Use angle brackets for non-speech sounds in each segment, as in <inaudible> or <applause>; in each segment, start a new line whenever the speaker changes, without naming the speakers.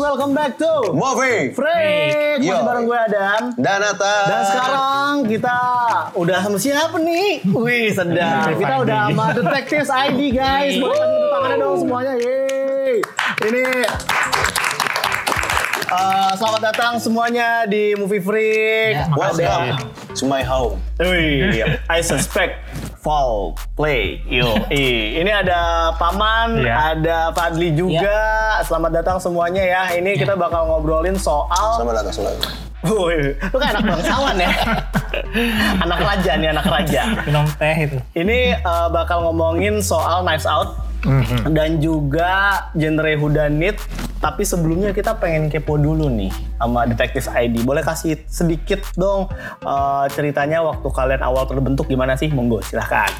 welcome back to
Movie
Freak. Masih
Yo.
bareng gue Adam.
Danata.
Dan sekarang kita udah sama siapa nih? Wih, sedap. Kita udah sama Detectives ID guys. Boleh tepuk tangannya dong semuanya. Yeay. Ini eh, selamat datang semuanya di Movie Freak.
welcome to my home.
Wih, I suspect fall play. Yo, i. ini ada Paman,
Iya.
ada Fadli juga. Selamat datang semuanya ya. Ini kita bakal ngobrolin soal.
Selamat datang semuanya.
Wih, lu kan anak bangsawan ya. anak raja nih, anak raja.
minum teh itu.
Ini eh, bakal ngomongin soal Knives Out dan juga genre whodunit. Tapi sebelumnya kita pengen kepo dulu nih sama Detektif ID. Boleh kasih sedikit dong eh, ceritanya waktu kalian awal terbentuk gimana sih? Monggo silahkan.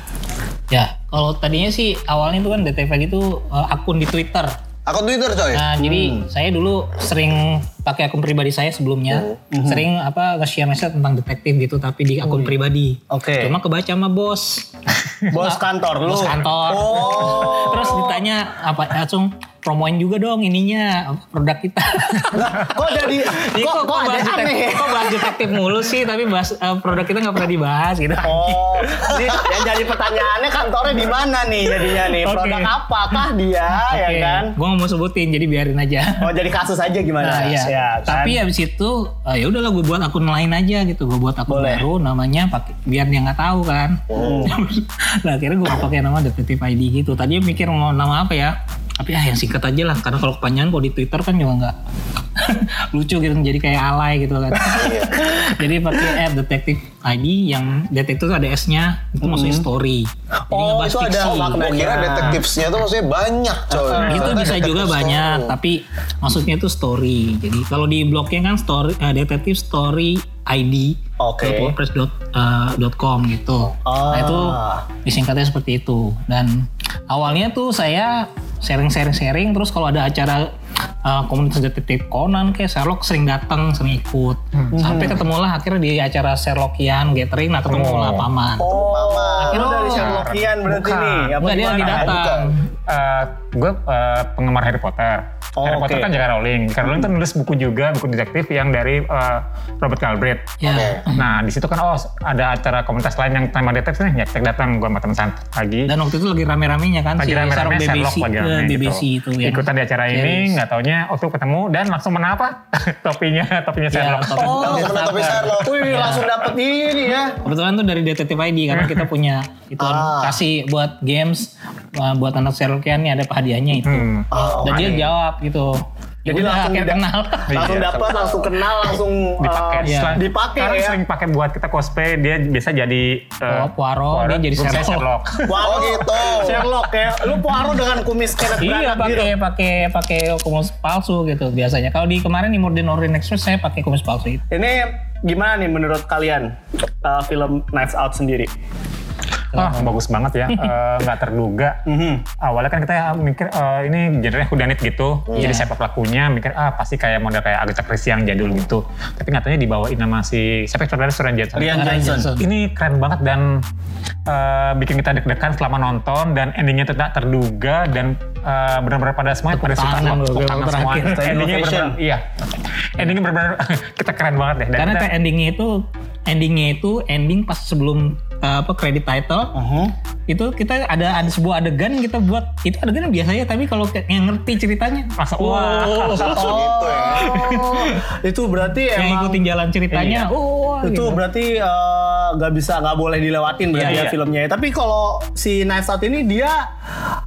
Ya, kalau tadinya sih awalnya itu kan DTV itu eh, akun di Twitter.
Akun Twitter coy.
Nah,
Hmm.
jadi saya dulu sering pakai akun pribadi saya
Oh,
sebelumnya,
hmm.
sering apa nge-share message tentang detektif gitu tapi di akun pribadi.
Oh, iya. Oke.
Cuma kebaca sama bos.
Bos kantor lu.
Bos kantor.
Oh.
Terus ditanya apa langsung promoin juga dong ininya apa, produk
<laughs>
kita.
kok jadi
Jadi
kok, kok ada
bahas detek-
aneh? ya?
kok bahas detektif mulu sih tapi bahas eh, produk kita nggak pernah dibahas gitu.
Oh, jadi yang jadi pertanyaannya kantornya di mana nih jadinya nih?
Oke.
Produk apakah dia ya kan?
Gue nggak mau sebutin jadi biarin aja.
Oh, jadi kasus aja gimana?
Nah, iya.
Ya, kan?
Tapi abis itu eh, ya udahlah gue buat akun lain aja gitu. Gue buat akun
Boleh. Oh.
baru namanya pakai biar dia nggak tahu kan. <laughs> nah akhirnya gue pakai nama Detektif ID gitu. Tadinya mikir mau nama apa ya? Tapi ah yang singkat aja lah karena kalau kepanjangan kalau di Twitter kan juga nggak <laughs> lucu gitu jadi kayak alay gitu
<laughs>
kan. jadi pakai app Detektif ID yang detektif tuh ada S-nya itu maksudnya story. Jadi
Hmm. Oh,
ngebahas
itu ada
fiksi.
makna
Gua kira
Nah.
detektifnya tuh maksudnya banyak coy.
Itu
Ternyata
bisa juga
detektif
banyak,
doang.
tapi maksudnya itu story. Jadi kalau di blognya kan story eh, detektif story ID
Oke.
wordpress.com gitu. Nah itu
Ah.
disingkatnya seperti itu. Dan awalnya tuh saya sharing-sharing-sharing terus kalau ada acara eh, komunitas detektif Conan kayak Sherlock sering datang, sering ikut. Sampai ketemulah akhirnya di acara Sherlockian gathering nah ketemulah paman.
Oh, iya,
Akhirnya-
lu dari Sherlockian berarti
Bukan.
nih. Apa
Enggak, dia lagi
gimana?
datang.
Eh, gue eh, penggemar Harry Potter.
Oh,
Harry Potter
oke.
kan J.K. Rowling. J.K. Rowling tuh nulis buku juga, buku detektif yang dari eh, Robert Galbraith.
Ya.
Nah, di situ kan oh ada acara komunitas lain yang tema detektif nih, ya kita datang gue sama teman sant lagi.
Dan waktu itu lagi rame-ramenya kan
Lagi rame-rame
Sherlock
Sherlock
BBC,
lagi
eh,
rame
BBC itu
gitu.
ya.
Ikutan di acara
Series.
ini, nggak taunya waktu ketemu dan langsung menapa <laughs> topinya, topinya
Iya, Ya,
Sherlock.
topik-
Oh,
topik
Temen tapi
apa.
Sherlock.
Wih,
Iya.
langsung dapet ini ya.
Kebetulan tuh dari Detektif ID
Hmm.
karena kita punya itu
Ah.
kasih buat games uh, buat anak Sherlockian nih ada hadiahnya itu.
Hmm.
Oh,
Dan dia jawab gitu.
Jadi
Jadi udah
langsung
akhirnya
di-
<laughs>
kenal.
langsung
Iya.
dapat, langsung kenal, langsung
dipakai.
eh,
Iya.
Selain-
dipakai
Sekarang
ya.
sering pakai buat kita cosplay, dia biasa jadi eh,
Oh, Poirot, dia jadi
terus saya
Sherlock. <laughs>
Poirot,
Oh, gitu.
Sherlock ya. Lu Poirot dengan kumis gitu. kayak
Iya pakai pakai pakai kumis palsu gitu biasanya. Kalau di kemarin di Morden Orient Express saya pakai kumis palsu itu.
Ini gimana nih menurut kalian eh, film Knives Out sendiri?
Ah, bagus banget ya, Eh, nggak terduga.
Mhm.
Awalnya kan kita mikir eh, ini jadinya kudanit gitu,
Iya.
jadi siapa pelakunya mikir ah pasti kayak model kayak Agatha Christie yang jadul gitu. Tapi katanya dibawain sama si siapa saudara Suran Johnson.
Iya.
Rian Johnson.
Ini keren banget dan eh, bikin kita deg-degan selama nonton dan endingnya tuh tak terduga dan eh, benar-benar pada semuanya pada suka
tangan loh,
tepuk tangan
terakhir.
semua.
Standing
Endingnya
ovation.
benar iya. Endingnya benar-benar <laughs> kita keren banget deh. Dan
Karena
kita-
teh endingnya itu endingnya itu ending pas sebelum uh, apa kredit title itu kita ada ada sebuah adegan kita buat itu adegan biasa aja tapi kalau kayak yang ngerti ceritanya
Masa,
wah
Oh,
wah.
gitu ya.
Oh, <laughs> itu berarti
yang
emang
ikutin jalan ceritanya
Iya.
oh
itu
gitu.
berarti eh, nggak bisa nggak boleh dilewatin berarti
Iya,
ya
iya.
filmnya ya. Tapi kalau si Knives Out ini dia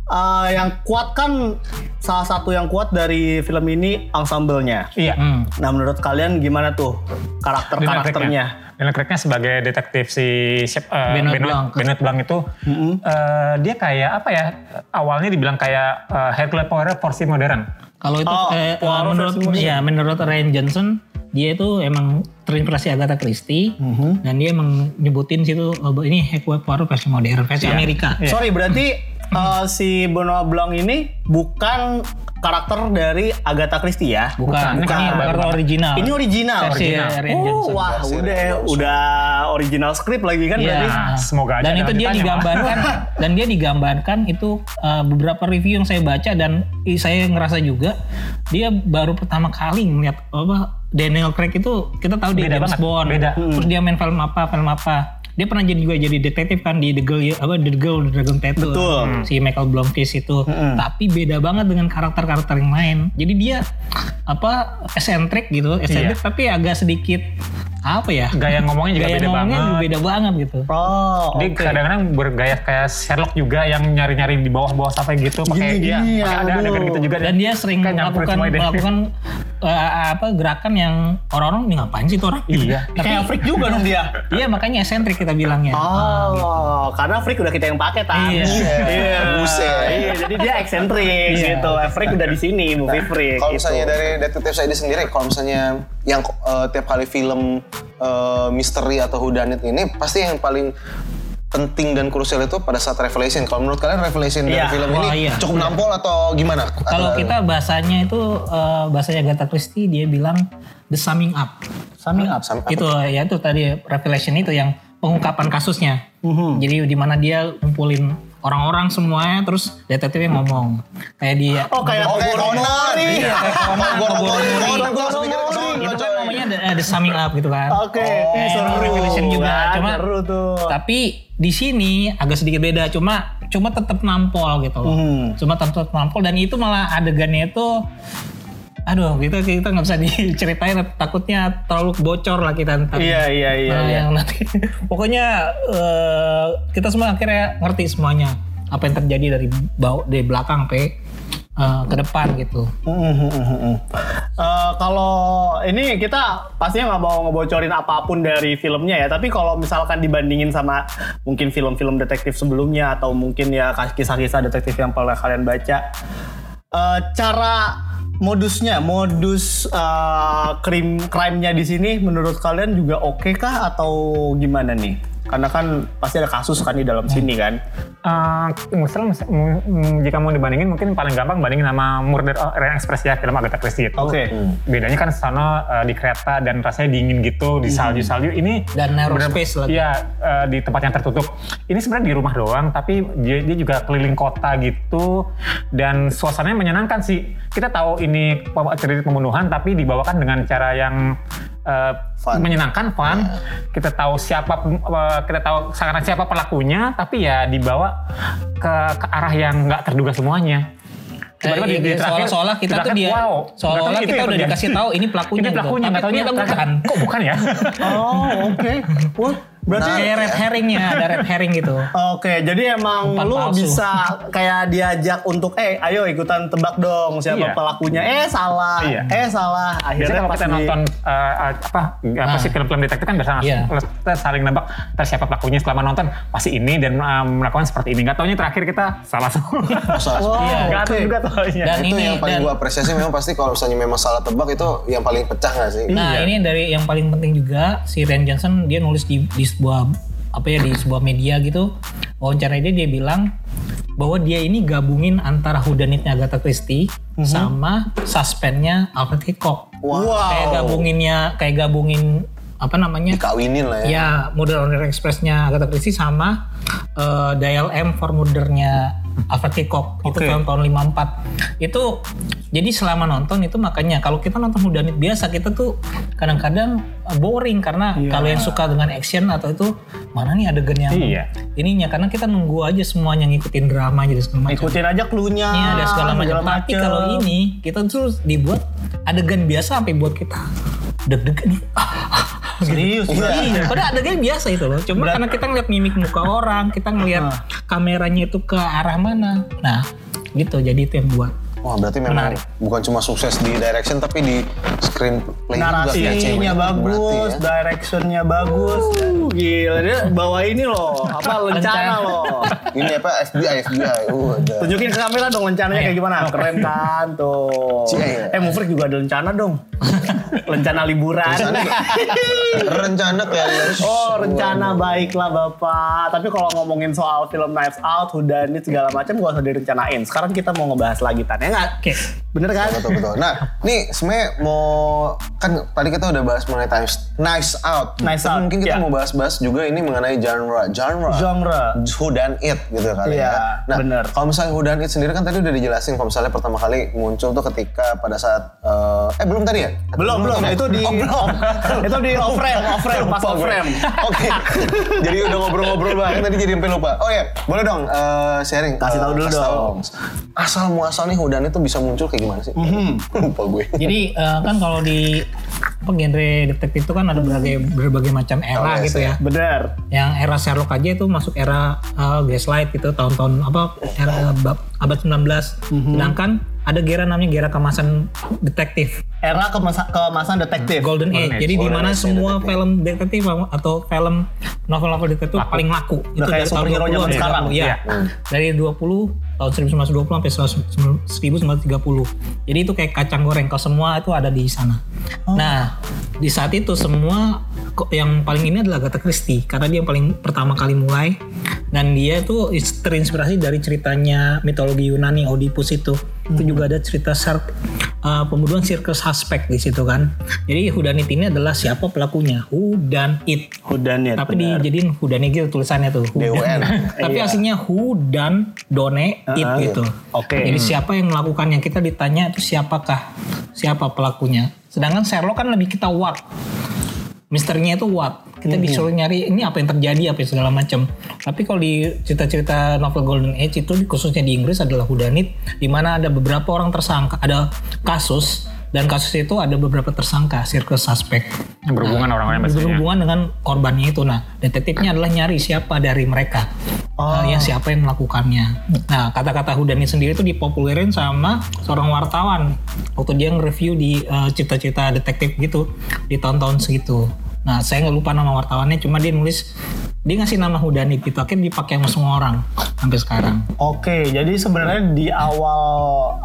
eh, yang kuat kan salah satu yang kuat dari film ini ensemble-nya.
Iya.
Hmm.
Nah menurut kalian gimana tuh
Daniel
karakter-karakternya?
Craig-nya. Daniel Craig-nya sebagai detektif si siap, eh,
Benoit
Benoit,
Blanc.
Benoit, Blanc itu eh, dia kayak apa ya? Awalnya dibilang kayak eh, Hercule Poirot versi modern.
kalau itu
Oh,
eh,
Poirot
menurut
versi modern.
ya menurut Ryan Johnson dia itu emang terinspirasi Agatha Christie
Mm-hmm. Iya.
dan dia emang nyebutin situ oh, ini Hackworth Poirot versi modern versi Amerika
Sorry berarti eh, si Benoit Blanc ini bukan karakter dari Agatha Christie ya.
Bukan, ini
Bukan.
karakter original.
Ini original.
Versi
original.
Rian
Oh,
Johnson.
wah,
Versi
udah
Rian Johnson.
udah original script lagi kan berarti.
Iya.
Semoga aja
Dan
ada
itu dia
lanjutannya, <laughs>
digambarkan dan dia digambarkan itu uh, beberapa review yang saya baca dan i- saya ngerasa juga dia baru pertama kali melihat apa Daniel Craig itu kita tahu dia
Beda
James
banget,
Bond.
beda. Hmm.
Terus dia main film apa film apa. Dia pernah jadi juga jadi detektif kan di The Girl apa The Girl with the Dragon Tattoo.
Betul.
Hmm.
Si Michael Blomkis itu. Tapi beda banget dengan karakter-karakter yang lain. Jadi dia apa esentrik gitu,
Iya.
esentrik tapi agak sedikit apa ya?
Gaya ngomongnya juga
Gaya
beda
ngomongnya juga
banget.
beda banget gitu.
Oh,
Dia kadang-kadang bergaya kayak Sherlock juga yang nyari-nyari di bawah-bawah sampai gitu pakai
Gini-gini,
iya, pakai ada
aduh.
adegan gitu juga
dan dia sering
Kayak nyamperin
melakukan
semua ide.
melakukan eh, apa gerakan yang orang-orang "Ini ngapain sih itu orang Nah,
Iya.
tapi
kayak freak juga dong dia.
iya makanya esentrik kita bilangnya
Oh, karena freak udah kita yang pakai tadi.
Iya.
Iya.
Buset.
Iya, jadi dia eksentrik gitu. Freak udah di sini, movie freak.
Nah, Kalau misalnya
gitu.
dari detektif saya ini sendiri, kalau misalnya yang eh, tiap kali film eh, misteri atau whodunit ini, pasti yang paling penting dan krusial itu pada saat revelation. Kalau menurut kalian revelation dari
Iya.
film ini
Wah, iya.
cukup nampol atau gimana?
kalau
Atau-
kita bahasanya itu eh, bahasanya Agatha Christie dia bilang the summing up summing up,
Sum-
itu ya itu tadi revelation itu yang pengungkapan kasusnya jadi di mana dia kumpulin orang-orang semuanya terus detektifnya ngomong kayak dia
Oh,
<laughs>
kayak
Oke, Conan.
Iya.
Iya, kayak Conan.
Conan,
Conan,
Conan.
Conan, gua harus mikir ke Conan,
gitu." itu kan
coy.
namanya the, eh, the summing up gitu kan
Oke,
Kayak
seru.
revelation juga,
Wah,
cuma-
Oh, seru tuh.
Tapi di sini agak sedikit beda, cuma cuma tetap nampol gitu loh.
Hmm.
Cuma tetap nampol dan itu malah adegannya itu aduh kita kita nggak bisa <laughs> diceritain takutnya terlalu bocor lah kita ntar.
Iya, iya, iya.
Nah,
iya.
yang nanti <laughs> pokoknya eh, kita semua akhirnya ngerti semuanya apa yang terjadi dari bau dari belakang sampai eh, ke depan gitu.
Eh, kalau ini kita pastinya nggak mau ngebocorin apapun dari filmnya ya. Tapi kalau misalkan dibandingin sama mungkin film-film detektif sebelumnya atau mungkin ya kisah-kisah detektif yang pernah kalian baca, eh, cara modusnya, modus eh, krim crime-nya di sini menurut kalian juga oke kah atau gimana nih? Karena kan pasti ada kasus kan di dalam sini kan.
Eh, misalnya, mis- m- m- Mm, jika mau dibandingin mungkin paling gampang bandingin sama Murder on Orient Express ya film Agatha Christie itu.
Oke.
Bedanya kan sana eh, di kereta dan rasanya dingin gitu di salju-salju. Ini
Mm-hmm. Dan narrow
bener-
space lagi.
Iya eh, di tempat yang tertutup. Ini sebenarnya di rumah doang tapi dia, dia juga keliling kota gitu dan suasananya menyenangkan sih. Kita tahu ini pem- cerita pembunuhan tapi dibawakan dengan cara yang eh,
Fun.
menyenangkan, fun.
Iya.
Kita tahu siapa pem- eh, kita tahu sekarang siapa pelakunya, tapi ya dibawa ke, ke arah yang nggak terduga semuanya. Tiba-tiba
Kayak
di- di
gitu,
terakhir-
seolah-olah kita
di
tuh
terakhir,
dia
wow, nggak
seolah-olah
tahu itu
kita
yang
udah
terjadi.
dikasih tahu ini pelakunya
Ini
gitu.
pelakunya, nggak
tapi
taunya
ternyata bukan.
bukan. <laughs> Kok bukan ya?
<laughs>
Oh oke. Wah, berarti
Nah,
Kayak red herringnya, ada red herring gitu.
Oke, jadi emang
Umpan
lu
palsu.
bisa kayak diajak untuk eh ayo ikutan tebak dong siapa
Iya.
pelakunya. Eh salah,
Iya.
eh salah.
Biasanya
Akhirnya
kalau
pas
kita
di-
nonton eh, eh, apa apa
Nah.
sih film-film detektif kan biasanya
Iya.
kita saling nebak terus siapa pelakunya selama nonton pasti ini dan eh, melakukan seperti ini. Gak taunya terakhir kita salah semua.
Salah
Wow,
<laughs> Iya.
oke.
Gak ada juga taunya.
Dan
itu
ini
yang paling
dan-
gua apresiasi memang pasti kalau misalnya memang salah tebak itu yang paling pecah nggak sih?
Nah ini dari yang paling penting juga si Ryan Johnson dia nulis di, di sebuah apa ya di sebuah media gitu wawancara dia dia bilang bahwa dia ini gabungin antara whodunitnya Agatha Christie sama suspennya Alfred Hitchcock.
Wow.
Kayak gabunginnya kayak gabungin apa namanya?
Dikawinin lah ya.
Ya, Murder on the Orient Express-nya Agatha Christie sama eh, Dial M for Murder-nya Alfred Hitchcock itu
Oke.
film tahun 54. Itu jadi selama nonton itu makanya kalau kita nonton Hudanit biasa kita tuh kadang-kadang eh, boring karena kalau yang suka dengan action atau itu mana nih adegan yang
Iya.
ininya karena kita nunggu aja semuanya ngikutin drama jadi segala macam.
ikutin aja cluenya
Iya, ada segala macam. Tapi
macem.
kalau ini kita terus dibuat adegan biasa sampai buat kita deg-degan.
serius ya.
Iya. Padahal adegan biasa itu loh. Cuma karena kita ngeliat mimik muka orang, kita ngeliat kameranya itu ke arah mana. Nah, gitu. Jadi itu yang buat.
Wah berarti memang
Menarik.
bukan cuma sukses di direction tapi di screenplay juga ya, cewek.
narasinya bagus,
Berarti ya.
directionnya bagus. Uh, gila dia bawa ini loh,
<laughs>
apa lencana
Lencana.
loh.
Ini apa FBI FBI. Uh, ada.
Tunjukin ke
Iya.
kamera dong lencananya kayak gimana? Keren kan tuh.
Cie.
<laughs>
Eh, Mufrik juga ada lencana dong. rencana liburan.
Rencana, rencana kalian.
Oh, rencana baiklah Bapak. Tapi kalau ngomongin soal film Knives Out, Hudanit segala macam gak usah direncanain. Sekarang kita mau ngebahas lagi Tan, ya nggak?
Oke.
Bener kan?
Betul betul. Nah, nih sebenarnya mau kan tadi kita udah bahas mengenai times nice out.
Knives
Tapi
Out,
Mungkin kita
iya.
mau bahas-bahas juga ini mengenai genre, genre.
Genre.
Who done it gitu kali
Hmm. Iya,
ya. Nah,
bener.
kalau misalnya who done it sendiri kan tadi udah dijelasin kalau misalnya pertama kali muncul tuh ketika pada saat eh, eh belum tadi ya?
Belum, belum.
tadi ya?
Nah, Itu di
Oh, belum.
<laughs> itu di off frame, off frame, pas
Lupa
off
gue.
frame.
<laughs> Oke. jadi udah ngobrol-ngobrol banget tadi jadi sampai lupa. Oh ya, boleh dong eh, sharing.
Kasih tahu
Eh,
dulu
kasih tahu.
dong.
Asal muasal nih hudan itu bisa muncul kayak gimana sih?
Mhm.
<laughs> lupa gue.
Jadi eh, kan kalau di apa, genre detektif itu kan ada berbagai berbagai macam era
Oh, iya,
gitu ya.
Bener.
Yang era Sherlock aja itu masuk era eh, Gaslight gitu tahun-tahun apa era abad, abad 19. Sedangkan ada gera namanya gera kemasan detektif.
Era kemasa- kemasan detektif.
Golden, Age.
Golden Age.
Jadi di
Golden
mana
Age-nya
semua film detektif atau film novel-novel detektif
Laku.
paling laku.
Udah kayak superhero zaman
20-an,
sekarang.
Iya.
Iya.
Dari 20 tahun 1920 sampai 1930. Jadi itu kayak kacang goreng. Kalau semua itu ada di sana. Nah, di saat itu semua ko- yang paling ini adalah Agatha Christie karena dia yang paling pertama kali mulai dan dia itu is- terinspirasi dari ceritanya mitologi Yunani Oedipus itu itu juga ada cerita sar- uh, pembunuhan sirkus suspek di situ kan jadi who done it ini adalah siapa pelakunya who done it
Hudanit.
tapi dijadiin who done it gitu tulisannya tuh who done
DUN.
<laughs> tapi aslinya who done done it gitu.
Oke.
Jadi siapa yang melakukannya? Kita ditanya itu siapakah? Siapa pelakunya? Sedangkan Sherlock kan lebih kita what. Misterinya itu what. Kita disuruh nyari ini apa yang terjadi, apa yang segala macam. Tapi kalau di cerita-cerita novel Golden Age itu khususnya di Inggris adalah whodunit di mana ada beberapa orang tersangka, ada kasus dan kasus itu ada beberapa tersangka, circus suspect
Yang berhubungan orang-orang biasanya.
Ah, berhubungan dengan korbannya itu. Nah, detektifnya adalah nyari siapa dari mereka. Eh, yang siapa yang melakukannya. Nah, kata-kata Hudani sendiri itu dipopulerin sama seorang wartawan. Waktu dia nge-review di eh, cerita-cerita detektif gitu. Di tahun-tahun segitu. Nah, saya nggak lupa nama wartawannya, cuma dia nulis, dia ngasih nama Hudani gitu. Akhirnya dipakai sama semua orang sampai sekarang.
Oke, jadi sebenarnya di awal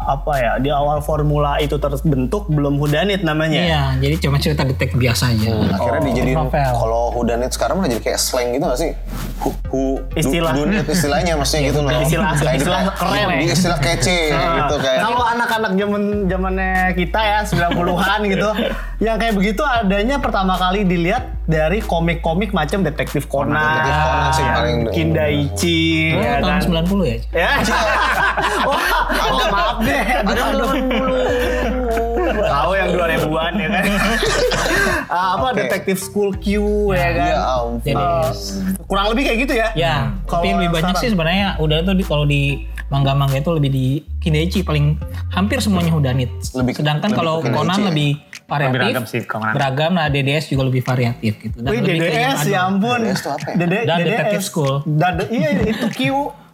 apa ya? Di awal formula itu terbentuk belum Hudanit namanya.
Iya, jadi cuma cerita detektif biasa aja.
Akhirnya dijadiin
novel.
kalau hudan it sekarang udah jadi kayak slang gitu gak sih? Hu, hu
Istilah.
du- dunia istilahnya maksudnya gitu loh.
Istilah-
Kayak di-
istilah keren. Ah.
di- Istilah kece gitu kayak.
Kalau anak-anak zaman zamannya kita ya 90-an
<laughs>
gitu, yang kayak begitu adanya pertama kali dilihat dari komik-komik macam detektif Conan,
Detektif Conan sih
yang
paling- Iya,
Kindaichi,
Oh,
ya
tahun
kan?
90 ya?
Ya.
<laughs>
Wah, oh, maaf deh.
Ada
Aduh,
belum
Tahu yang 2000-an ya
<laughs>
kan. Ah, apa
Oke.
detektif school Q ya kan.
Ya ampun.
Jadi,
Kurang lebih kayak gitu ya.
Ya,
Hmm.
Kalau
tapi lebih
yang
banyak sih sebenarnya udah itu di, kalau di manga-manga itu lebih di Kindaichi paling hampir semuanya udanit.
Lebih ke-
Sedangkan
lebih
kalau
ke Kindaichi
Conan
ya.
lebih variatif.
Lebih beragam sih Conan.
Beragam, nah DDS juga lebih variatif gitu. Dan
Wih,
lebih ke yang
DDS ya
adult.
ampun.
DDS tuh apa ya?
Dede-
Dan
DDS.
Detective School.
Dan, iya, itu Q.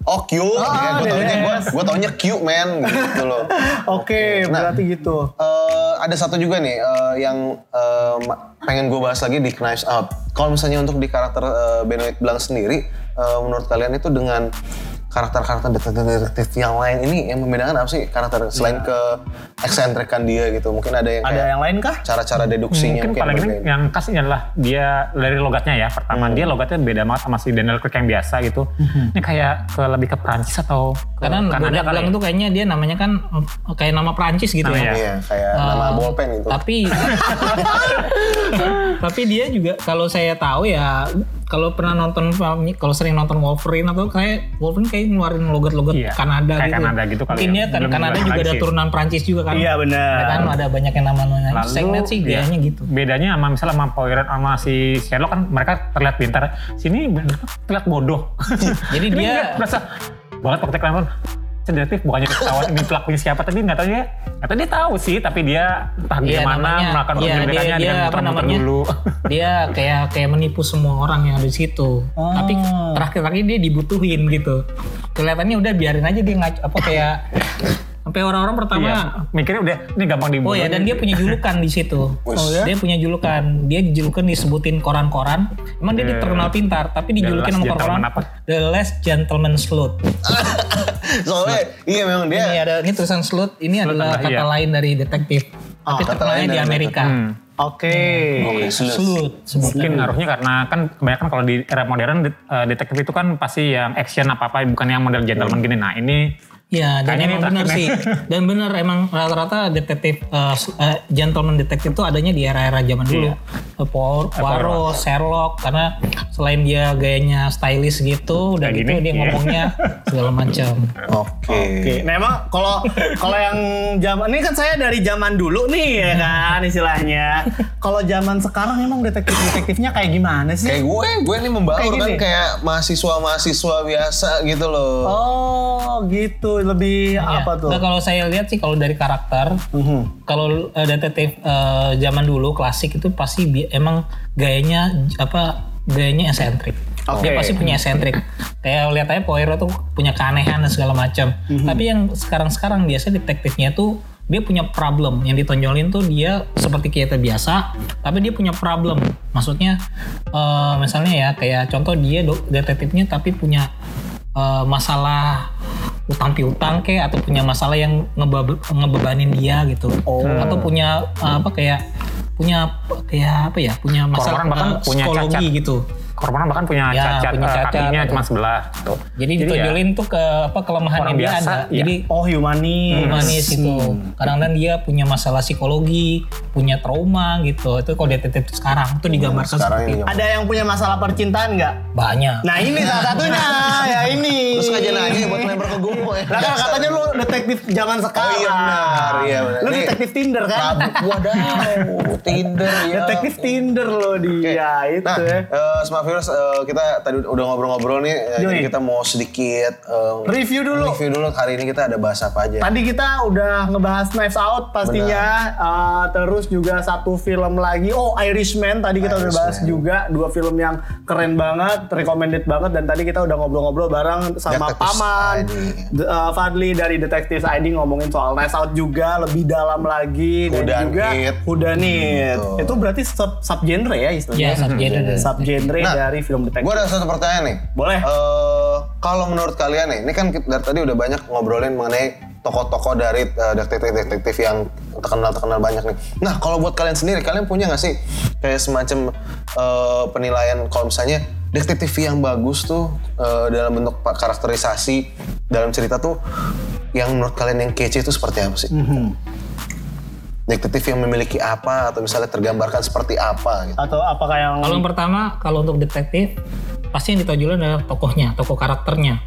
Oh Q,
Ah,
ya, gue taunya gue
yes.
gue taunya Q man gitu loh.
Oke,
nah.
berarti gitu.
Eh, ada satu juga nih eh, yang eh, ma- pengen gue bahas lagi di Knives Out. Kalau misalnya untuk di karakter eh, Benoit Blanc sendiri, eh, menurut kalian itu dengan karakter-karakter detektif-detektif yang lain ini yang membedakan apa sih karakter selain ke eksentrikan dia gitu? Mungkin ada yang
Iya. Ada
kayak
yang Hmm, lain kah?
cara-cara
Iya,
deduksinya
mungkin
mungkin,
paling ini
berbeda.
yang khasnya adalah dia dari logatnya ya
Hmm.
pertama dia logatnya beda banget sama si Daniel Craig yang biasa gitu ini kayak ke lebih ke Prancis atau ke
Karena
Kanada
Kanada
kali
itu kayaknya dia namanya kan eh, kayak nama Perancis gitu
Namanya.
ya.
Iya, kayak
Ah.
nama
Eh,
bolpen gitu.
Tapi <laughs> tapi dia juga kalau saya tahu ya kalau pernah nonton filmnya kalau sering nonton Wolverine atau kayak Wolverine kayak ngeluarin logat-logat
Iya,
Kanada
kayak
gitu.
Kanada gitu kali
Mungkin
ya.
dia kan
Belum
Kanada
jelas
juga ada
lagi.
turunan Prancis juga kan.
Iya, benar.
Ya kan ada banyak yang namanya. Saya ngeliat sih
ya,
gayanya gitu.
Bedanya sama misalnya sama Poiron sama si Sherlock kan mereka terlihat pintar. Sini bener- terlihat bodoh.
<laughs> Jadi
Ini
dia-
ngeliat merasa banget waktu kelamaan sendatif bukannya ketahuan ini pelakunya siapa tapi nggak tahu ya atau dia tahu sih tapi dia entah
Iya,
gimana
namanya-
melakukan
iya, dia- dia
penyelidikannya dia,
apa
muter-muter
namanya?
dulu <laughs>
dia kayak kayak menipu semua orang yang ada di
Oh.
situ. Tapi terakhir-terakhir dia dibutuhin gitu. Kelihatannya udah biarin aja dia ngac apa
<laughs>
kayak sampai orang-orang pertama
iya mikirnya udah ini gampang
Oh
dibunuh
ya, dan dia punya julukan di situ.
Wih. Oh ya?
Dia punya julukan. Dia julukan disebutin koran-koran. Emang dia
Yeah.
terkenal pintar, tapi dijulukin
Iya. last
sama koran-koran
gentleman apa?
The Last Gentleman Sleuth.
Soalnya iya memang dia
Ini ada ini tulisan Sleuth. Ini adalah
adalah,
kata
iya.
lain dari detektif. Tapi
Ah, kata
terkenalnya
lain
di
dari Hmm.
Amerika.
Oke.
Oke,
Slut.
Mungkin ngaruhnya karena kan kebanyakan kalau di era modern det- eh, detektif itu kan pasti yang action apa-apa bukan yang model
Iya.
gentleman gini. Nah, ini
Ya, dan
Kayaknya
emang
ini
benar
terakhir
sih. Dan benar emang rata-rata detektif eh, s- eh, gentleman detektif itu adanya di era-era zaman dulu.
Iya.
Eh, Poir- Poirot, Sherlock karena selain dia gayanya stylish gitu, udah
Kayak
gitu
gini,
dia
iya. <laughs>
ngomongnya segala macam.
Oke.
Oke, nah emang kalau kalau yang zaman ini kan saya dari zaman dulu nih ya kan istilahnya. Kalau zaman sekarang emang detektif-detektifnya kayak gimana sih?
Kayak gue, gue nih membaur
Kayak
kan
gini.
kayak mahasiswa-mahasiswa biasa gitu loh.
Oh, gitu. Lebih apa
Ya.
tuh?
Nah, kalau saya lihat sih kalau dari karakter,
Mhm.
kalau eh, detektif eh, zaman dulu klasik itu pasti bi- emang gayanya j- apa gayanya esentrik.
Oke.
Dia pasti punya esentrik. Kayak lihat aja Poirot tuh punya keanehan dan segala macam. Tapi yang sekarang-sekarang biasa detektifnya tuh dia punya problem yang ditonjolin tuh dia seperti kita biasa, tapi dia punya problem. Maksudnya eh, misalnya ya kayak contoh dia do- detektifnya tapi punya eh, masalah utang piutang kayak atau punya masalah yang ngebe- ngebebanin dia gitu atau punya eh, apa kayak punya kayak apa ya punya masalah
Orang bahkan
eh,
punya
psikologi
cacat.
gitu
korban bahkan punya
Ya,
cacat,
punya
eh,
cacat
kakinya
atau-
cuma sebelah gitu.
jadi,
Jadi ya,
ditonjolin tuh ke apa kelemahannya
orang
dia
biasa,
ada
iya. Hmm.
jadi
Oh, humanis.
manis itu kadang-kadang dia punya masalah psikologi punya trauma gitu itu kalau detektif sekarang itu
Hmm,
digambarkan
sekarang
seperti
ini.
Ada yang punya masalah percintaan nggak?
banyak
Nah ini salah
<laughs>
satunya, ya ini.
Terus aja nanya buat member ke gue.
Lah kan katanya lu detektif zaman sekarang.
Oh, iya benar, iya benar.
Lu
Ini-
detektif Tinder kan?
Wadaw, Tinder ya.
Detektif Tinder lo
Oke.
dia itu.
Nah,
ya.
eh, Smart Viewers, eh, kita tadi udah ngobrol-ngobrol nih, eh,
Yoi.
jadi kita mau sedikit eh,
Review dulu.
Review dulu hari ini kita ada bahas apa aja.
Tadi kita udah ngebahas Knives Out pastinya, Eh, terus juga satu film lagi, oh Irishman tadi kita udah bahas
Irishman.
juga dua film yang keren banget, recommended banget dan tadi kita udah ngobrol-ngobrol bareng sama
Detectives
paman
ID.
D- eh, Fadli dari Detective ID ngomongin soal Knives Out juga lebih dalam lagi
Whodunit.
dan juga Hudanit.
Gitu.
Itu berarti sub subgenre ya
ya
istilahnya.
subgenre dan-
subgenre
Nah,
dari film
Gue
detektif.
ada satu pertanyaan nih.
Eh, Boleh.
Eh, kalau menurut kalian nih, ini kan kita- dari tadi udah banyak ngobrolin mengenai tokoh-tokoh dari eh, detektif-detektif yang terkenal-terkenal banyak nih. Nah, kalau buat kalian sendiri, kalian punya nggak sih kayak semacam eh, penilaian kalau misalnya detektif yang bagus tuh eh, dalam bentuk pa- karakterisasi dalam cerita tuh yang menurut kalian yang kece itu seperti apa sih? Detektif yang memiliki apa atau misalnya tergambarkan seperti apa gitu.
Atau apakah yang
Kalau yang pertama, kalau untuk detektif, pasti yang ditonjolin adalah tokohnya, tokoh karakternya.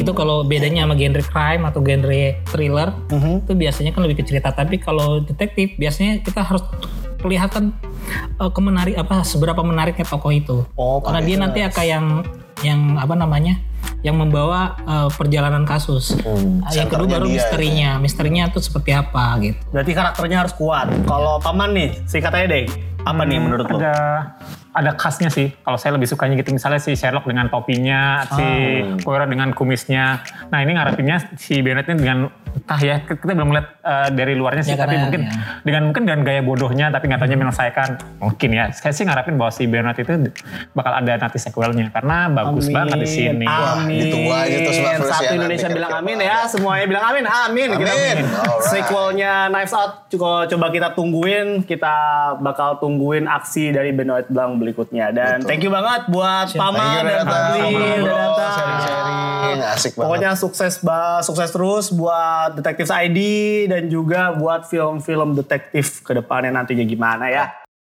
Itu kalau bedanya sama genre crime atau genre thriller, itu biasanya kan lebih ke cerita. Tapi kalau detektif, biasanya kita harus kelihatan eh, kemenarik apa seberapa menariknya tokoh itu.
Oh,
Karena dia nanti akan yang yang apa namanya? yang membawa eh, perjalanan kasus.
Hmm,
Yang kedua
senternya
baru
dia,
misterinya. Misterinya itu seperti apa gitu.
berarti karakternya harus kuat. Kalau paman nih, singkat aja deh. Apa nih menurut lo?
Hmm, ada ada khasnya sih. Kalau saya lebih sukanya gitu misalnya si Sherlock dengan topinya, si
Ah.
Poirot dengan kumisnya. Nah, ini ngarepinnya si Bennett ini dengan entah ya kita belum melihat eh, dari luarnya sih
Ya,
tapi
karena-
mungkin
ya. Hmm.
dengan mungkin dengan gaya bodohnya tapi nyatanya menyelesaikan mungkin ya saya sih ngarepin bahwa si Bernard itu bakal ada nanti sequelnya karena bagus banget di sini
Amin.
ditunggu aja terus Mbak Felicia
Satu
nanti
Indonesia
kira-kira
bilang amin
apa
ya,
ada.
semuanya bilang amin. Amin. Kita
Amin. Alright.
Sequelnya Knives Out co- coba kita tungguin, kita bakal tungguin aksi dari Benoit Blanc berikutnya. Dan
Betul.
thank you banget buat
Thank
Paman
you udah
dan
datang,
Fadli udah
ngobrol-ngobrol,
datang.
sharing-sharing. Asik banget.
Pokoknya sukses ba- sukses terus buat Detective ID dan juga buat film-film detektif ke depannya nantinya gimana ya.